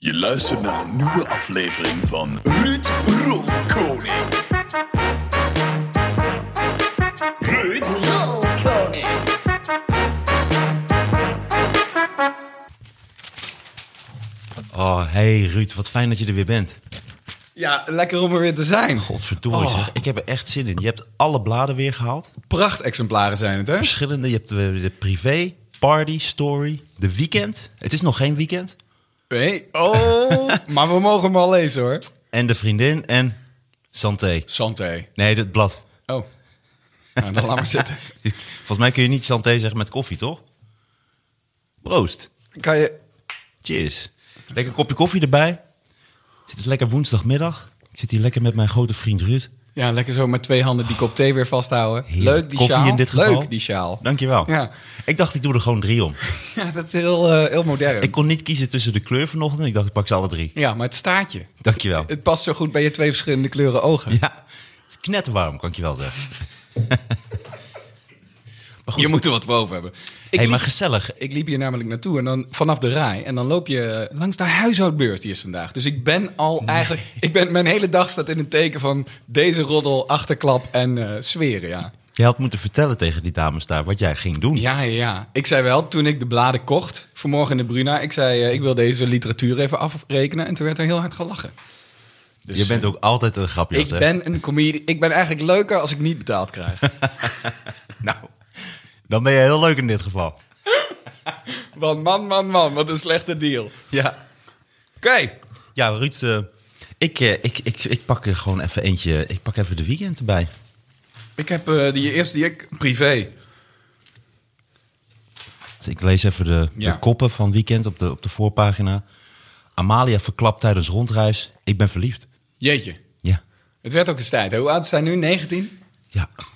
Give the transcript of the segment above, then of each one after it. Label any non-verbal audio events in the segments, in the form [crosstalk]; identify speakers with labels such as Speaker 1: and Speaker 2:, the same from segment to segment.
Speaker 1: Je luistert naar een nieuwe aflevering van Ruud Rolkoning.
Speaker 2: Oh,
Speaker 1: Ruud.
Speaker 3: Rolkoning.
Speaker 2: Oh, hey Ruud, wat fijn dat je er weer bent.
Speaker 4: Ja, lekker om er weer te zijn.
Speaker 2: Godverdorie
Speaker 4: Oh.
Speaker 2: zeg, ik heb er echt zin in. Je hebt alle bladen weer gehaald.
Speaker 4: Prachtexemplaren zijn het, hè?
Speaker 2: Verschillende, je hebt de, de privé, party, story, de weekend. Het is nog geen weekend.
Speaker 4: Nee. Oh, [laughs] maar we mogen hem al lezen, hoor.
Speaker 2: En de vriendin en santé.
Speaker 4: Santé.
Speaker 2: Nee, het blad.
Speaker 4: Oh. Nou, dan laat maar zitten.
Speaker 2: Volgens mij kun je niet santé zeggen met koffie, toch? Proost.
Speaker 4: [laughs] Kan je...
Speaker 2: Cheers. Lekker kopje koffie erbij. Het is lekker woensdagmiddag. Ik zit hier lekker met mijn grote vriend Ruud.
Speaker 4: Ja, lekker zo met twee handen die kop thee weer vasthouden.
Speaker 2: Heerlijk.
Speaker 4: Leuk, die
Speaker 2: koffie
Speaker 4: sjaal.
Speaker 2: in dit geval.
Speaker 4: Leuk, die sjaal.
Speaker 2: Dankjewel.
Speaker 4: Ja.
Speaker 2: Ik dacht, ik doe er gewoon drie om.
Speaker 4: Ja, dat is heel, eh, heel modern.
Speaker 2: Ik kon niet kiezen tussen de kleur vanochtend. Ik dacht, ik pak ze alle drie.
Speaker 4: Ja, maar het staartje.
Speaker 2: Dankjewel.
Speaker 4: [laughs] Het past zo goed bij je twee verschillende kleuren ogen.
Speaker 2: Ja, het is knetterwarm, kan ik je wel zeggen. [laughs]
Speaker 4: Je moet er wat boven hebben. Ik,
Speaker 2: Hé, hey,
Speaker 4: liep,
Speaker 2: maar gezellig.
Speaker 4: ik liep hier namelijk naartoe en dan vanaf de rij. En dan loop je eh, langs de huishoudbeurt die is vandaag. Dus ik ben al eigenlijk... Ik ben, mijn hele dag staat in het teken van deze roddel, achterklap en eh sferen, ja.
Speaker 2: Je had moeten vertellen tegen die dames daar wat jij ging doen.
Speaker 4: Ja, ja, ja. Ik zei wel, toen ik de bladen kocht, vanmorgen in de Bruna, ik zei, eh, ik wil deze literatuur even afrekenen. En toen werd er heel hard gelachen. Dus,
Speaker 2: je bent ook altijd een grapje.
Speaker 4: Ik ben een comedie. Ik ben eigenlijk leuker als ik niet betaald [laughs] krijg.
Speaker 2: Nou, dan ben je heel leuk in dit geval.
Speaker 4: Want man, man, man, wat een slechte deal. Oké.
Speaker 2: Ja. Ja, Ruud, eh, ik, eh, ik, ik, ik pak er gewoon even eentje. Ik pak even de weekend erbij.
Speaker 4: Ik heb eh, die eerste die ik privé.
Speaker 2: Ik lees even de,
Speaker 4: Ja.
Speaker 2: de koppen van weekend op de, op de voorpagina. Amalia verklapt tijdens rondreis. Ik ben verliefd.
Speaker 4: Jeetje.
Speaker 2: Ja.
Speaker 4: Het werd ook eens tijd. hè? Hoe oud zijn nu? 19?
Speaker 2: Ja,
Speaker 4: Dat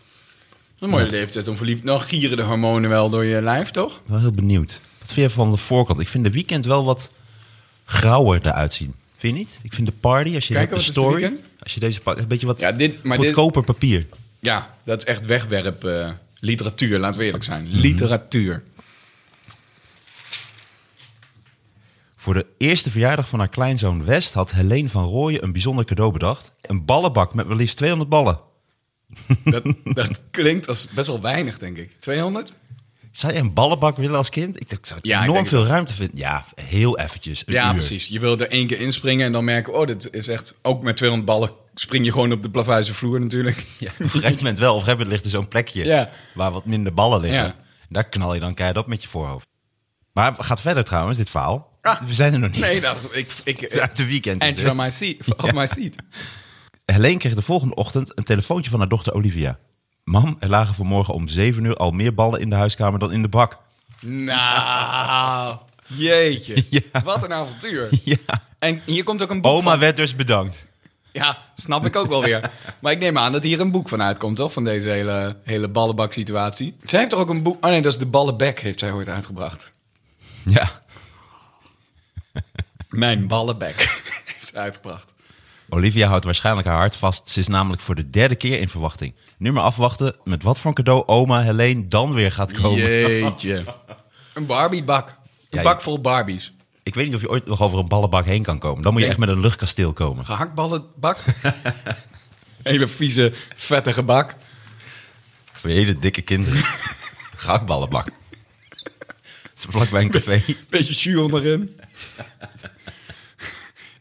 Speaker 4: is een mooie leeftijd om verliefd. Nou gieren de hormonen wel door je lijf, toch?
Speaker 2: wel heel benieuwd. Wat vind je van de voorkant? Ik vind de weekend wel wat grauwer eruit zien. Vind je niet? Ik vind de party, als je
Speaker 4: Kijk,
Speaker 2: hebt de
Speaker 4: wat is de
Speaker 2: story,
Speaker 4: Weeknd?
Speaker 2: als je deze pakt, een beetje wat
Speaker 4: Ja, dit- maar dit-
Speaker 2: goedkoper papier.
Speaker 4: Ja, dat is echt wegwerp eh, literatuur, laten we eerlijk zijn. Literatuur.
Speaker 2: Voor de eerste verjaardag van haar kleinzoon West had Helene van Rooyen een bijzonder cadeau bedacht. Een ballenbak met wel liefst 200 ballen.
Speaker 4: Dat, [laughs] dat klinkt als best wel weinig, denk ik. 200?
Speaker 2: Zou je een ballenbak willen als kind? Ik, dacht, ik zou het
Speaker 4: Ja, ik
Speaker 2: enorm
Speaker 4: denk
Speaker 2: veel ruimte vinden. Ja, heel eventjes. een
Speaker 4: Ja,
Speaker 2: uur.
Speaker 4: precies. Je wil er één keer inspringen en dan merken... oh, dit is echt... ook met 200 ballen spring je gewoon op de plavuizen vloer natuurlijk. [laughs]
Speaker 2: Ja, [laughs] op een gegeven moment wel. Op een gegeven moment ligt er zo'n plekje
Speaker 4: Ja.
Speaker 2: waar wat minder ballen liggen.
Speaker 4: Ja.
Speaker 2: Daar knal je dan keihard op met je voorhoofd. Maar het gaat verder trouwens, dit verhaal. We zijn er nog niet.
Speaker 4: Ah. Nee, nou. dat, ik...
Speaker 2: [laughs]
Speaker 4: ik
Speaker 2: Het is uit de weekend. is
Speaker 4: Enter
Speaker 2: dit.
Speaker 4: my seat, of my seat.
Speaker 2: Helene kreeg de volgende ochtend een telefoontje van haar dochter Olivia. Mam, er lagen vanmorgen om 7 uur al meer ballen in de huiskamer dan in de
Speaker 4: [laughs]
Speaker 2: bak.
Speaker 4: Nou, jeetje. [laughs]
Speaker 2: Ja.
Speaker 4: Wat een avontuur.
Speaker 2: Ja.
Speaker 4: En hier komt ook een boek
Speaker 2: Oma
Speaker 4: van.
Speaker 2: werd dus bedankt.
Speaker 4: Ja, snap ik ook wel
Speaker 2: [laughs]
Speaker 4: weer. Maar ik neem aan dat hier een boek van uitkomt, toch? Van deze hele, hele ballenbak-situatie. Zij heeft toch ook een boek... Oh nee, dat is De Ballenbek, heeft zij ooit uitgebracht.
Speaker 2: Ja.
Speaker 4: Mijn Ballenbek [laughs] heeft ze uitgebracht.
Speaker 2: Olivia houdt waarschijnlijk haar hart vast. Ze is namelijk voor de derde keer in verwachting. Nu maar afwachten met wat voor een cadeau oma Helene dan weer gaat komen. [laughs]
Speaker 4: Jeetje. Een Barbiebak. Een
Speaker 2: Ja,
Speaker 4: bak
Speaker 2: je-
Speaker 4: vol Barbies.
Speaker 2: Ik weet niet of je ooit nog over een ballenbak heen kan komen. Dan moet je
Speaker 4: Nee.
Speaker 2: echt met een luchtkasteel komen. [laughs]
Speaker 4: Gehaktballenbak. Hele vieze, vettige bak.
Speaker 2: Voor hele dikke
Speaker 4: [laughs]
Speaker 2: kinderen. Goudballenbak. Ze vlakbij een café.
Speaker 4: [laughs] Beetje jus onderin.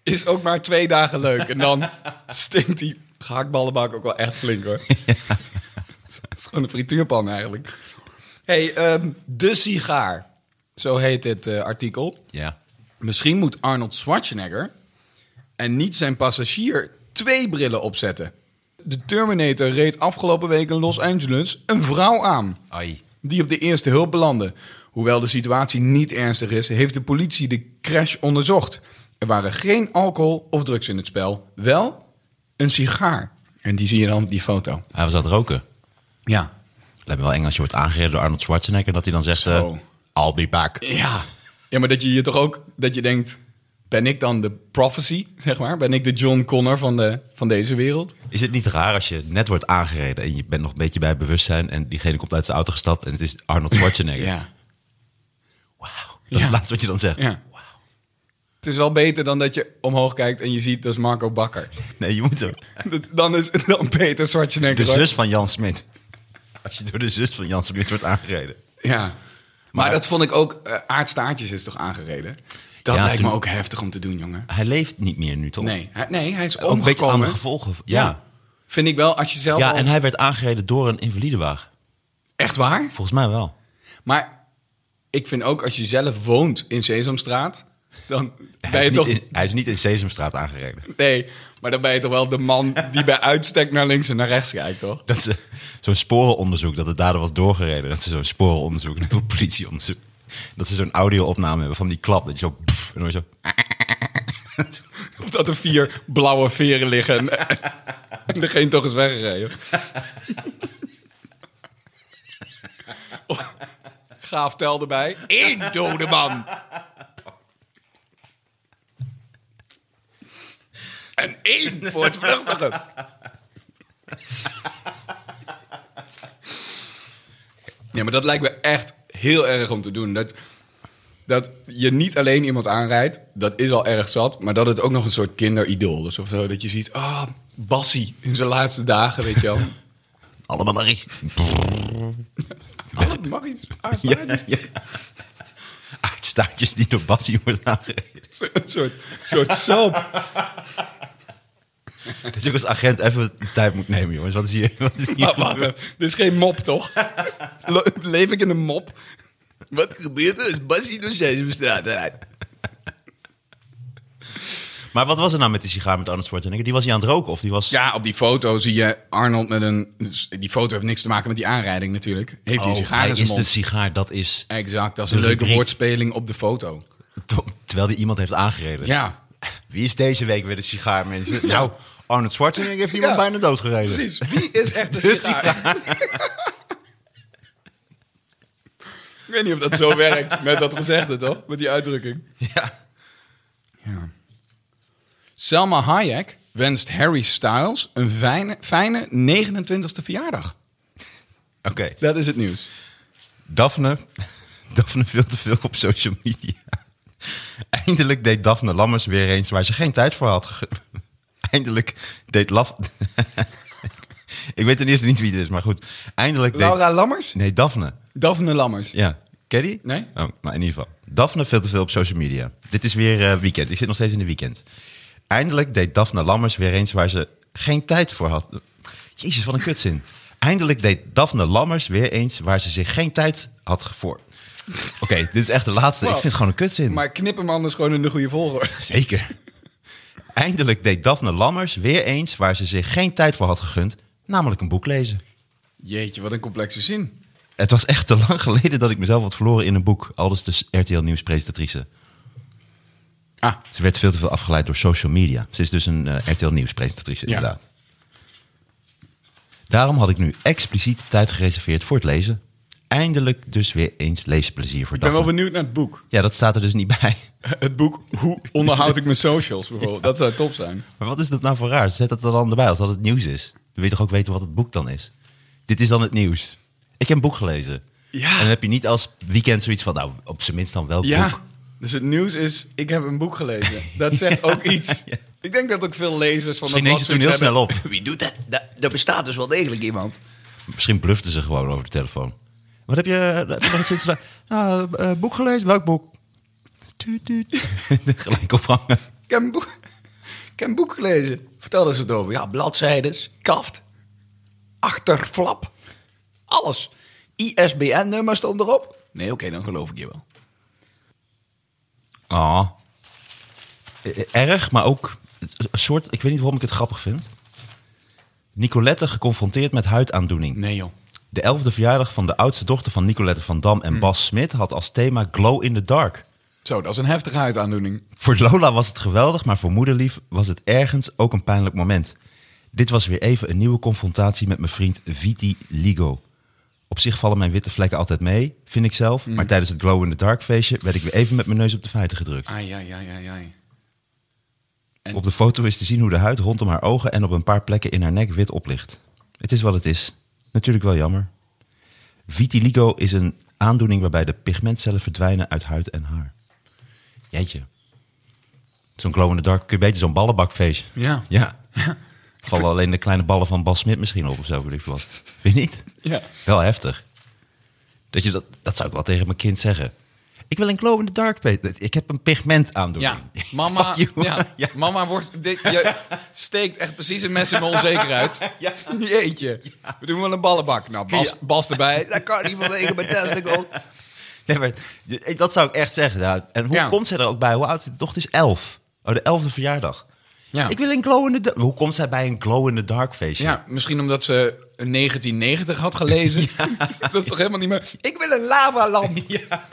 Speaker 4: Is ook maar twee dagen leuk. En dan stinkt die gehaktballenbak ook wel echt flink hoor. Het is gewoon een frituurpan eigenlijk. hey, ehm, de sigaar. Zo heet dit eh, artikel.
Speaker 2: Ja.
Speaker 4: Misschien moet Arnold Schwarzenegger en niet zijn passagier twee brillen opzetten. De Terminator reed afgelopen week in Los Angeles een vrouw aan.
Speaker 2: Ai.
Speaker 4: Die op de eerste hulp belandde. Hoewel de situatie niet ernstig is, heeft de politie de crash onderzocht. Er waren geen alcohol of drugs in het spel. Wel een sigaar. En die zie je dan op die foto.
Speaker 2: Hij was aan het roken.
Speaker 4: Ja.
Speaker 2: Lijkt me wel eng als je wordt aangereden door Arnold Schwarzenegger... dat hij dan zegt, eh
Speaker 4: Zo.
Speaker 2: I'll be back.
Speaker 4: Ja. Ja, maar dat je je toch ook dat je denkt, ben ik dan de prophecy, zeg maar? Ben ik de John Connor van, de, van deze wereld?
Speaker 2: Is het niet raar als je net wordt aangereden... en je bent nog een beetje bij bewustzijn... en diegene komt uit zijn auto gestapt en het is Arnold Schwarzenegger? Wauw. Dat is
Speaker 4: Ja.
Speaker 2: het laatste wat je dan zegt.
Speaker 4: Ja. Het is wel beter dan dat je omhoog kijkt en je ziet dat is Marco Bakker. [laughs]
Speaker 2: Nee, je moet zo.
Speaker 4: Dat- dan is dan Peter Schwarzenegger.
Speaker 2: De zus van Jan Smit. Als je door de zus van Jan Smit wordt aangereden.
Speaker 4: Ja. Maar, dat vond ik ook. eh Aardstaartjes is toch aangereden? Dat
Speaker 2: Ja,
Speaker 4: lijkt me
Speaker 2: toen-
Speaker 4: ook heftig om te doen, jongen.
Speaker 2: Hij leeft niet meer nu, toch?
Speaker 4: Nee, hij, nee, hij is
Speaker 2: Ook een beetje aan de
Speaker 4: omgekomen.
Speaker 2: gevolgen. Ja.
Speaker 4: Vind ik wel, als je
Speaker 2: ja.
Speaker 4: zelf. al-
Speaker 2: en hij werd aangereden door een invalidewagen.
Speaker 4: Echt waar?
Speaker 2: Volgens mij wel.
Speaker 4: Maar ik vind ook als je zelf woont in Sesamstraat. dan ben
Speaker 2: Hij
Speaker 4: je
Speaker 2: is,
Speaker 4: toch.
Speaker 2: niet in, hij is niet in Sesamstraat aangereden.
Speaker 4: Nee, maar dan ben je toch wel de man die bij uitstek naar links en naar rechts kijkt, toch?
Speaker 2: Dat ze zo'n sporenonderzoek, dat de dader was doorgereden. Dat ze zo'n sporenonderzoek, net een politieonderzoek. Dat ze zo'n audio-opname hebben van die klap. Dat je zo... pff, en dan hoor je zo...
Speaker 4: Of dat er vier blauwe veren liggen en, en degene toch is weggereden. Of- Gaaf tel erbij. Eén dode man. En één voor het vluchtige. Ja, maar dat lijkt me echt heel erg om te doen. Dat, dat je niet alleen iemand aanrijdt, dat is al erg zat. Maar dat het ook nog een soort kinderidool is of zo. Dat je ziet, ah, Bassie in zijn laatste dagen, weet je
Speaker 2: [laughs]
Speaker 4: wel.
Speaker 2: Allemaal Marie. Ah,
Speaker 4: Alle Marie's
Speaker 2: Ja,
Speaker 4: [laughs] aanstaartjes.
Speaker 2: ja. Uitstaartjes die door Bassie wordt aangereden.
Speaker 4: Een soort, soort
Speaker 2: [laughs]
Speaker 4: soap.
Speaker 2: Dus ik als agent even tijd moet nemen, jongens. Wat is hier? Wat is hier?
Speaker 4: Maar Ah, wacht, dit is geen mop,
Speaker 2: [laughs]
Speaker 4: toch? Le- Leef ik in een mop? Wat gebeurt er als Bassie door Sesamstraat rijdt?
Speaker 2: Maar wat was er nou met die sigaar met Arnold Schwarzenegger? Die was hij aan het roken of die was...
Speaker 4: Ja, op die foto zie je Arnold met een... dus Die foto heeft niks te maken met die aanrijding natuurlijk. Heeft hij een
Speaker 2: oh,
Speaker 4: sigaar
Speaker 2: hij
Speaker 4: in zijn
Speaker 2: is de
Speaker 4: mond.
Speaker 2: sigaar, dat is...
Speaker 4: Exact, dat is
Speaker 2: de
Speaker 4: een leuke
Speaker 2: rubriek.
Speaker 4: woordspeling op de foto.
Speaker 2: to- Terwijl hij iemand heeft aangereden.
Speaker 4: Ja,
Speaker 2: Wie is deze week weer de sigaar, mensen?
Speaker 4: Ja.
Speaker 2: Nou, Arnold Schwarzenegger heeft iemand
Speaker 4: Ja.
Speaker 2: bijna doodgereden.
Speaker 4: precies. Wie is echt [laughs] de
Speaker 2: Dus
Speaker 4: sigaar? Ik weet niet of dat zo werkt met dat gezegde, toch? Met die uitdrukking.
Speaker 2: Ja.
Speaker 4: Ja. Selma Hayek wenst Harry Styles een fijne, fijne 29e verjaardag.
Speaker 2: Oké.
Speaker 4: Dat is het nieuws.
Speaker 2: Daphne. [laughs] Daphne veel te veel op social media. [laughs] Eindelijk deed Daphne Lammers weer eens waar ze geen tijd voor had. ge- [laughs] Eindelijk deed Laf... [laughs] Ik weet ten eerste niet wie het is, maar goed. Eindelijk deed...
Speaker 4: Laura Lammers?
Speaker 2: Nee, Daphne.
Speaker 4: Daphne Lammers.
Speaker 2: Ja. Ken je die?
Speaker 4: Nee.
Speaker 2: Oh, nou, in ieder geval. Daphne veel te veel op social media. Dit is weer eh, weekend. Ik zit nog steeds in de weekend. Eindelijk deed Daphne Lammers weer eens waar ze geen tijd voor had. Jezus, wat een kutzin. Eindelijk deed Daphne Lammers weer eens waar ze zich geen tijd had voor. Oké,
Speaker 4: [laughs]
Speaker 2: dit is echt de laatste. Ik
Speaker 4: Wow.
Speaker 2: vind het gewoon een kutzin.
Speaker 4: Maar knip hem anders gewoon in de goede volgorde.
Speaker 2: Zeker. Eindelijk deed Daphne Lammers weer eens waar ze zich geen tijd voor had gegund. Namelijk een boek lezen.
Speaker 4: Jeetje, wat een complexe zin.
Speaker 2: Het was echt te lang geleden dat ik mezelf had verloren in een boek. Aldus de RTL Nieuws presentatrice.
Speaker 4: Ah,
Speaker 2: Ze werd veel te veel afgeleid door social media. Ze is dus een eh, RTL nieuwspresentatrice,
Speaker 4: Ja.
Speaker 2: inderdaad. Daarom had ik nu expliciet tijd gereserveerd voor het lezen. Eindelijk dus weer eens leesplezier voor
Speaker 4: ik ben wel
Speaker 2: Daphne.
Speaker 4: benieuwd naar het boek.
Speaker 2: Ja, dat staat er dus niet [laughs] bij.
Speaker 4: Het boek Hoe onderhoud ik mijn socials bijvoorbeeld. Dat zou top zijn.
Speaker 2: Maar wat is dat nou voor raar? Zet dat er dan erbij als dat het nieuws is. Dan wil je toch ook weten wat het boek dan is? Dit is dan het nieuws. Ik heb een boek gelezen.
Speaker 4: Ja.
Speaker 2: En dan heb je niet als weekend zoiets van, nou, op zijn minst dan welk boek.
Speaker 4: Ja, dus het nieuws is, ik heb een boek gelezen. Dat zegt ook iets.
Speaker 2: Ja.
Speaker 4: Ik denk dat ook veel lezers van
Speaker 2: Misschien
Speaker 4: dat
Speaker 2: denken ze toen heel snel op.
Speaker 4: Wie doet dat? Da- Er bestaat dus wel degelijk iemand.
Speaker 2: Misschien bluften ze gewoon over de telefoon. Wat heb je, eh, heb je nog iets sinds- [laughs] nou, eh, boek gelezen? Welk boek? Tuut, [laughs] tuut. Gelijk ophangen.
Speaker 4: Ik heb, een boek, [laughs] ik heb een boek gelezen. Vertel eens wat over. Ja, bladzijdes, kaft, achterflap, alles. ISBN-nummer stond erop. Nee, oké, dan geloof ik je wel.
Speaker 2: Ah. Eh, eh, Erg, maar ook een soort... Ik weet niet waarom ik het grappig vind. Nicolette geconfronteerd met huidaandoening.
Speaker 4: Nee joh.
Speaker 2: De elfde verjaardag van de oudste dochter van Nicolette van Dam en Bas Smit... had als thema Glow in the Dark.
Speaker 4: Zo, dat is een heftige huidaandoening.
Speaker 2: Voor Lola was het geweldig, maar voor moederlief was het ergens ook een pijnlijk moment. Dit was weer even een nieuwe confrontatie met mijn vriend Viti Ligo. Op zich vallen mijn witte vlekken altijd mee, vind ik zelf. Maar tijdens het Glow in the Dark feestje werd ik weer even met mijn neus op de feiten gedrukt.
Speaker 4: Ai, ai, ai, ai, ai.
Speaker 2: Op de foto is te zien hoe de huid rondom haar ogen en op een paar plekken in haar nek wit oplicht. Het is wat het is. Natuurlijk wel jammer. Vitiligo is een aandoening waarbij de pigmentcellen verdwijnen uit huid en haar. Jeetje. Zo'n glow in the dark kun je beter zo'n ballenbakfeest.
Speaker 4: Ja.
Speaker 2: Ja. Vallen alleen de kleine ballen van Bas Smit misschien op of zo. Weet ik veel wat. Vind je niet?
Speaker 4: Ja.
Speaker 2: Wel heftig. Dat, je dat, dat zou ik wel tegen mijn kind zeggen. Ik wil een glow in the dark feest. Ik heb een pigment aandoening.
Speaker 4: Ja,
Speaker 2: [laughs]
Speaker 4: mama,
Speaker 2: Fuck you.
Speaker 4: ja,
Speaker 2: [laughs] Ja.
Speaker 4: mama wordt, dit, je steekt echt precies een mes in mijn
Speaker 2: [laughs]
Speaker 4: onzekerheid.
Speaker 2: Ja.
Speaker 4: Jeetje, we doen wel een ballenbak. Nou, Bas,
Speaker 2: Ja.
Speaker 4: Bas
Speaker 2: [laughs]
Speaker 4: erbij, dat kan niet vanwege mijn testicle.
Speaker 2: Nee, maar je- dat zou ik echt zeggen. ja. En hoe
Speaker 4: Ja.
Speaker 2: komt zij er ook bij? Hoe oud is de dochter? Is elf. Oh, de elfde verjaardag.
Speaker 4: Ja.
Speaker 2: Ik wil een glow in the dark. Hoe komt zij bij een glow in the dark feestje?
Speaker 4: Ja, misschien omdat ze 1990 had gelezen. [laughs] Dat is toch helemaal niet meer... Ik wil een [laughs] lavalamp. Ja,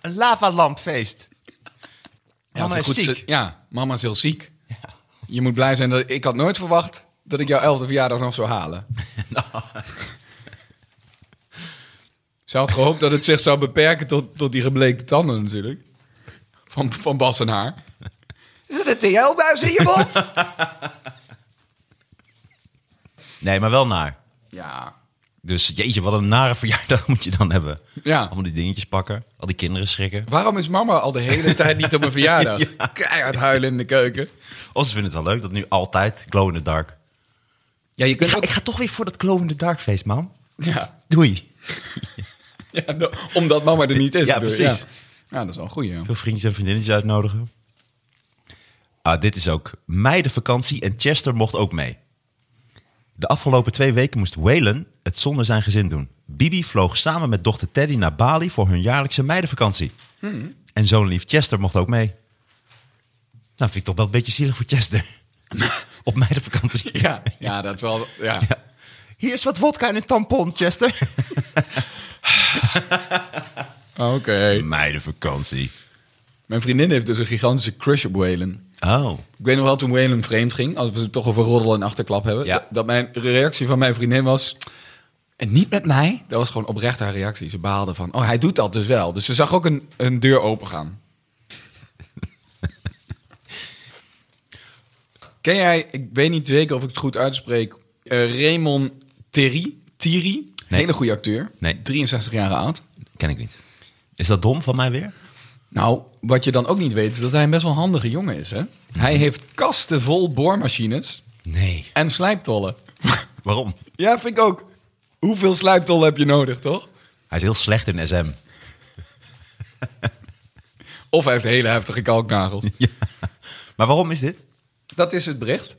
Speaker 2: Een lavalampfeest.
Speaker 4: ze
Speaker 2: Mama is
Speaker 4: goed-
Speaker 2: ziek.
Speaker 4: ze- ja, mama is heel ziek. Je moet blij zijn dat... Ik had nooit verwacht dat ik jouw elfde verjaardag nog zou [laughs] halen. Ze had gehoopt dat het zich zou beperken tot, tot die gebleekte tanden natuurlijk. Van, van Bas en haar. [laughs] Is dat een TL-buis in je mond?
Speaker 2: Nee, maar wel naar.
Speaker 4: [laughs] ja.
Speaker 2: Dus jeetje, wat een nare verjaardag [laughs] moet je dan hebben.
Speaker 4: Ja.
Speaker 2: Allemaal die dingetjes pakken. Al die kinderen schrikken.
Speaker 4: Waarom is mama al de hele tijd niet op mijn [laughs] verjaardag? Keihard huilen in de keuken.
Speaker 2: Of ze vinden het wel leuk dat nu altijd glow in the dark.
Speaker 4: Ja, je
Speaker 2: Ik
Speaker 4: kunt
Speaker 2: ga,
Speaker 4: ook...
Speaker 2: ik ga toch weer voor dat glow in the dark feest, man.
Speaker 4: [laughs] Ja.
Speaker 2: Doei.
Speaker 4: Ja, nou, omdat mama er niet is.
Speaker 2: Ja,
Speaker 4: bedoel je.
Speaker 2: precies.
Speaker 4: Ja. Ja, dat is wel een goeie. ja.
Speaker 2: Veel vriendjes en vriendinnetjes uitnodigen. Ah, dit is ook meidenvakantie en Chester mocht ook mee. De afgelopen twee weken moest Waylon het zonder zijn gezin doen. Bibi vloog samen met dochter Teddy naar Bali voor hun jaarlijkse meidenvakantie. En zoon lief Chester mocht ook mee. Nou, vind ik toch wel een beetje zielig voor Chester. [laughs] Op meidenvakantie.
Speaker 4: Ja, ja, dat is wel... Ja.
Speaker 2: Ja. Hier is wat wodka en een tampon, Chester.
Speaker 4: Ah, Oké.
Speaker 2: [laughs] Meidenvakantie.
Speaker 4: Mijn vriendin heeft dus een gigantische crush op Waylon.
Speaker 2: Oh.
Speaker 4: Ik weet nog wel toen Waylon vreemd ging, als we het toch over roddel en achterklap hebben,
Speaker 2: Ja.
Speaker 4: dat- dat mijn reactie van mijn vriendin was... En niet met mij. Dat was gewoon oprecht haar reactie. Ze behaalde van, oh, hij doet dat dus wel. Dus ze zag ook een, een deur opengaan. [laughs] Ken jij, ik weet niet zeker of ik het goed uitspreek, eh, Raymond Thierry? Thierry?
Speaker 2: Nee.
Speaker 4: Hele goede acteur.
Speaker 2: Nee.
Speaker 4: 63 jaar oud.
Speaker 2: Ken ik niet. Is dat dom van mij weer?
Speaker 4: Nou, wat je dan ook niet weet, is dat hij een best wel handige jongen is. Hè? Hij heeft kasten vol boormachines
Speaker 2: Nee.
Speaker 4: en slijptollen.
Speaker 2: Waarom?
Speaker 4: ja, vind ik ook. Hoeveel slijptollen heb je nodig, toch?
Speaker 2: Hij is heel slecht in [laughs] SM.
Speaker 4: Of hij heeft hele heftige kalknagels.
Speaker 2: Maar waarom is dit?
Speaker 4: Dat is het bericht.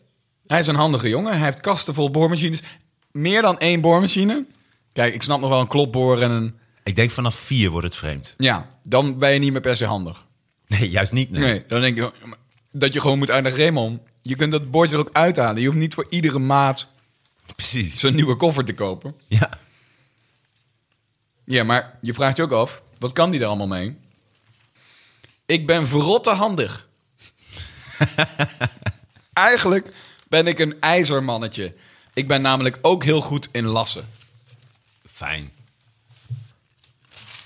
Speaker 4: Hij is een handige jongen. Hij heeft kasten vol boormachines. Meer dan één boormachine. Kijk, ik snap nog wel een klopboor en een...
Speaker 2: Ik denk vanaf vier wordt het vreemd. [laughs]
Speaker 4: Ja, dan ben je niet meer per se handig.
Speaker 2: Nee, juist niet. Nee.
Speaker 4: Nee, dan denk je dat je gewoon moet uit naar Raymond. Je kunt dat bordje er ook uithalen. Je hoeft niet voor iedere maat
Speaker 2: Precies.
Speaker 4: zo'n nieuwe koffer te kopen.
Speaker 2: Ja.
Speaker 4: Ja, maar je vraagt je ook af, wat kan die er allemaal mee? Ik ben verrotte handig. [laughs] Eigenlijk ben ik een ijzermannetje. Ik ben namelijk ook heel goed in lassen.
Speaker 2: Fijn.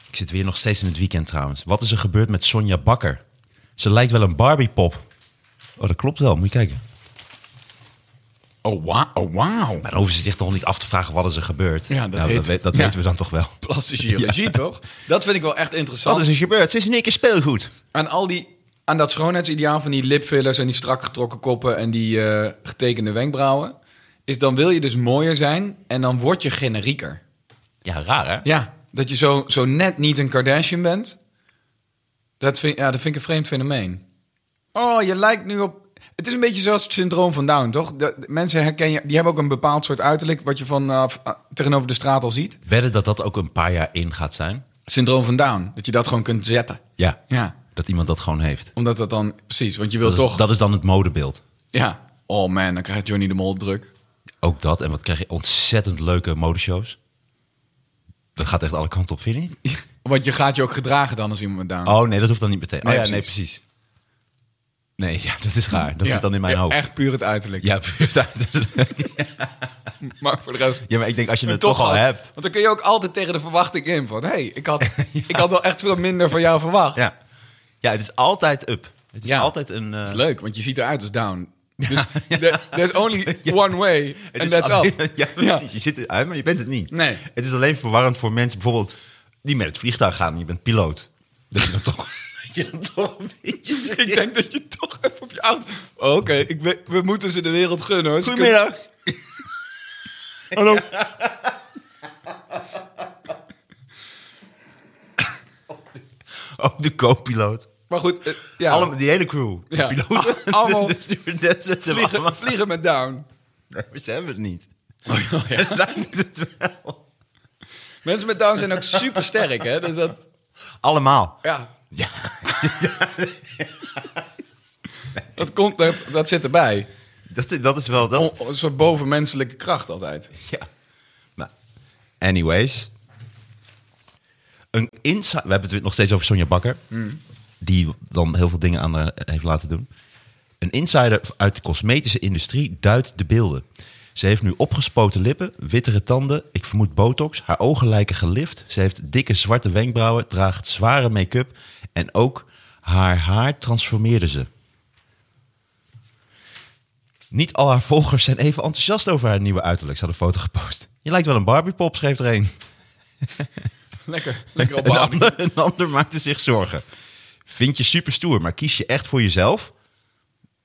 Speaker 2: Ik zit weer nog steeds in het weekend trouwens. Wat is er gebeurd met Sonja Bakker? Ze lijkt wel een Barbiepop. Oh, dat klopt wel. Moet je kijken.
Speaker 4: Oh, wa- oh wauw.
Speaker 2: Maar dan hoeven ze zich toch niet af te vragen wat is er gebeurd.
Speaker 4: Ja, dat
Speaker 2: Nou,
Speaker 4: heet-
Speaker 2: dat, weet- dat
Speaker 4: ja.
Speaker 2: weten we dan toch wel.
Speaker 4: Plastische [laughs] chirurgie, toch? Dat vind ik wel echt interessant.
Speaker 2: Wat is er gebeurd? Ze is in één keer speelgoed.
Speaker 4: Aan, al die, aan dat schoonheidsideaal van die lipfillers en die strak getrokken koppen en die eh, getekende wenkbrauwen... is dan wil je dus mooier zijn en dan word je generieker.
Speaker 2: Ja, raar hè?
Speaker 4: Ja, dat je zo, zo net niet een Kardashian bent. Dat vind, ja, dat vind ik een vreemd fenomeen. Oh, je lijkt nu op... Het is een beetje zoals het syndroom van Down, toch? De, de mensen herken je, die hebben ook een bepaald soort uiterlijk... wat je vanaf ah, tegenover de straat al ziet.
Speaker 2: Wedden dat dat ook een paar jaar in gaat zijn?
Speaker 4: Syndroom van Down, dat je dat gewoon kunt zetten.
Speaker 2: Ja.
Speaker 4: Ja,
Speaker 2: Dat iemand dat gewoon heeft.
Speaker 4: omdat dat dan... Precies, want je wil
Speaker 2: Dat is,
Speaker 4: toch...
Speaker 2: dat is dan het modebeeld.
Speaker 4: Ja. Oh man, dan krijgt Johnny de Mol druk.
Speaker 2: Ook dat. En wat krijg je? Ontzettend leuke modeshows. Dat gaat echt alle kanten op, vind je niet?
Speaker 4: Want je gaat je ook gedragen dan als iemand met Down.
Speaker 2: Oh nee, dat hoeft dan niet meteen.
Speaker 4: Nee,
Speaker 2: oh ja,
Speaker 4: precies.
Speaker 2: nee, precies. Nee, ja, dat is raar. Dat
Speaker 4: Ja.
Speaker 2: zit dan in mijn
Speaker 4: Ja,
Speaker 2: hoofd.
Speaker 4: Echt puur het uiterlijk.
Speaker 2: Ja, [laughs] puur duidelijk.
Speaker 4: Maar voor de rest...
Speaker 2: ja, maar ik denk als je
Speaker 4: Een
Speaker 2: het toch al
Speaker 4: topgast.
Speaker 2: hebt.
Speaker 4: Want dan kun je ook altijd tegen de verwachting in van... hé, hey, ik,
Speaker 2: [laughs]
Speaker 4: had, ik had wel echt veel minder van jou verwacht.
Speaker 2: Ja. ja, het is altijd up. Het is
Speaker 4: Ja.
Speaker 2: altijd een... eh,
Speaker 4: Dat is leuk, want je ziet eruit als
Speaker 2: [laughs]
Speaker 4: down. Dus there- there's only one way,
Speaker 2: het
Speaker 4: and
Speaker 2: is
Speaker 4: that's
Speaker 2: alleen-
Speaker 4: up.
Speaker 2: [laughs] Ja, precies. Je zit eruit, maar je bent het niet.
Speaker 4: Nee.
Speaker 2: Het is alleen verwarrend voor mensen bijvoorbeeld die met het vliegtuig gaan. en Je bent piloot. Dat je dan toch... [laughs] je dan toch een beetje
Speaker 4: Ik denk dat je toch even op je auto... Oh, Oké, ik weet- we moeten ze de wereld gunnen. hoor.
Speaker 2: [laughs]
Speaker 4: Ze
Speaker 2: Goedemiddag.
Speaker 4: Hallo.
Speaker 2: Ook de co-piloot.
Speaker 4: Maar goed, eh, ja.
Speaker 2: Allem- Die hele crew.
Speaker 4: Ja.
Speaker 2: De piloot,
Speaker 4: [laughs]
Speaker 2: [laughs]
Speaker 4: Allemaal
Speaker 2: de stewardessen. ze hebben allemaal-
Speaker 4: vliegen, vliegen met down.
Speaker 2: Nee, maar ze hebben het niet.
Speaker 4: ja.
Speaker 2: Lijkt [laughs] het wel.
Speaker 4: Mensen met down zijn ook super sterk, hè? Dus dat,
Speaker 2: Allemaal.
Speaker 4: ja,
Speaker 2: Ja.
Speaker 4: [laughs] dat, komt, dat, dat zit erbij.
Speaker 2: Dat, is- dat is wel dat.
Speaker 4: O- Een soort bovenmenselijke kracht altijd.
Speaker 2: [laughs] Ja. Maar, anyways. Een insight. We hebben het nog steeds over Sonja Bakker. Die dan heel veel dingen aan haar heeft laten doen. Een insider uit de cosmetische industrie duidt de beelden. Ze heeft nu opgespoten lippen, wittere tanden, ik vermoed botox. Haar ogen lijken gelift. Ze heeft dikke zwarte wenkbrauwen, draagt zware make-up. En ook haar haar transformeerde ze. Niet al haar volgers zijn even enthousiast over haar nieuwe uiterlijk. Ze had een foto gepost. Je lijkt wel een Barbiepop, schreef er een.
Speaker 4: Lekker, lekker op
Speaker 2: Een ander, een ander maakte zich zorgen. Vind je super stoer, maar kies je echt voor jezelf?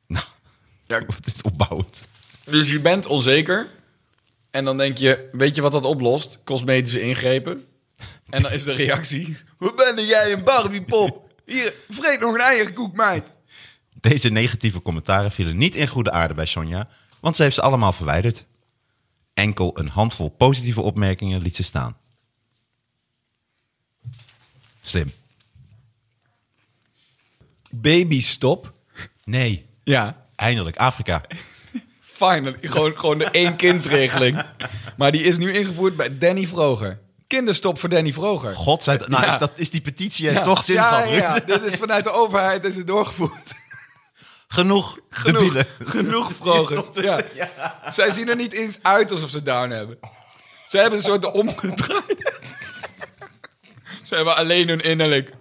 Speaker 2: Nou,
Speaker 4: [laughs]
Speaker 2: [laughs]
Speaker 4: Ja.
Speaker 2: het is opbouwend.
Speaker 4: Dus je bent onzeker. En dan denk je, weet je wat dat oplost? Cosmetische ingrepen. En dan is de reactie... [laughs] Hoe ben jij een Barbiepop? Hier, vreet nog een eierkoek, meid.
Speaker 2: Deze negatieve commentaren vielen niet in goede aarde bij Sonja, want ze heeft ze allemaal verwijderd. Enkel een handvol positieve opmerkingen liet ze staan. Slim.
Speaker 4: Baby stop.
Speaker 2: Nee,
Speaker 4: Ja,
Speaker 2: eindelijk Afrika.
Speaker 4: finally. Gewoon, gewoon de één-kindsregeling. Maar die is nu ingevoerd bij Danny Vroger. Kinderstop voor Danny Vroger.
Speaker 2: God
Speaker 4: [laughs]
Speaker 2: zij nou,
Speaker 4: Ja.
Speaker 2: is, dat, is die petitie
Speaker 4: Ja.
Speaker 2: toch zin
Speaker 4: ja,
Speaker 2: gehad,
Speaker 4: ja,
Speaker 2: Ruud? [laughs]
Speaker 4: ja. dit is vanuit de overheid is het doorgevoerd.
Speaker 2: Genoeg,
Speaker 4: Genoeg,
Speaker 2: debielen.
Speaker 4: genoeg vrogers.
Speaker 2: [laughs] Is dat
Speaker 4: Ja.
Speaker 2: het?
Speaker 4: Zij zien er niet eens uit alsof ze down hebben. Ze hebben een soort de omgedraaid. ze hebben alleen hun innerlijk.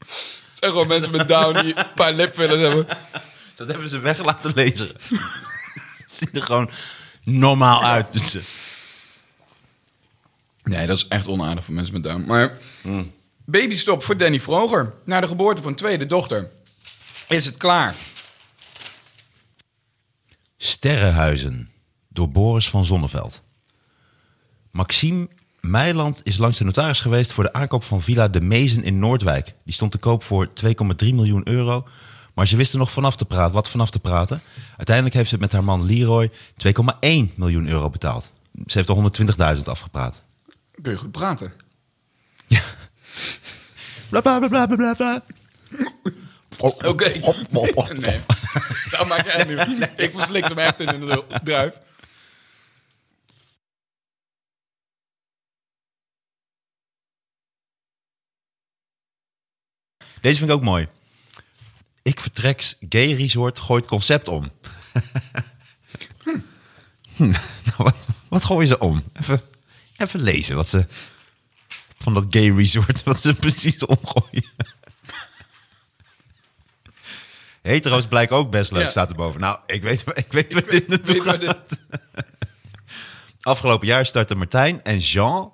Speaker 4: Het zijn gewoon mensen met down die een paar lipfillers hebben.
Speaker 2: Dat hebben ze weg laten lezen. [laughs] Het ziet er gewoon normaal uit. Dus, eh,
Speaker 4: Nee, dat is echt onaardig voor mensen met down. Maar babystop voor Danny Vroger. Na de geboorte van een tweede dochter is het klaar.
Speaker 2: Sterrenhuizen door Boris van Zonneveld. Maxime Meiland is langs de notaris geweest voor de aankoop van Villa De Mezen in Noordwijk. Die stond te koop voor 2,3 miljoen euro. Maar ze wist er nog vanaf te praten, wat vanaf te praten. Uiteindelijk heeft ze met haar man Leroy 2,1 miljoen euro betaald. Ze heeft er 120.000 afgepraat.
Speaker 4: Kun je goed praten.
Speaker 2: Ja. Bla bla bla bla bla bla. Oké.
Speaker 4: [laughs] Nee, dat maakt jij nu. Ik verslik hem echt in een lul- druif.
Speaker 2: Deze vind ik ook mooi. Ik vertreks gay resort gooit concept om. Hm. [laughs] Nou, wat, wat gooien ze om? Even, even lezen wat ze van dat gay resort [laughs] wat ze precies [laughs] omgooien. Hetero's blijken ook best leuk,
Speaker 4: Ja.
Speaker 2: staat erboven. Nou, ik weet, ik weet waar dit naartoe
Speaker 4: Weet waar
Speaker 2: gaat.
Speaker 4: dit-
Speaker 2: Afgelopen jaar startten Martijn en Jean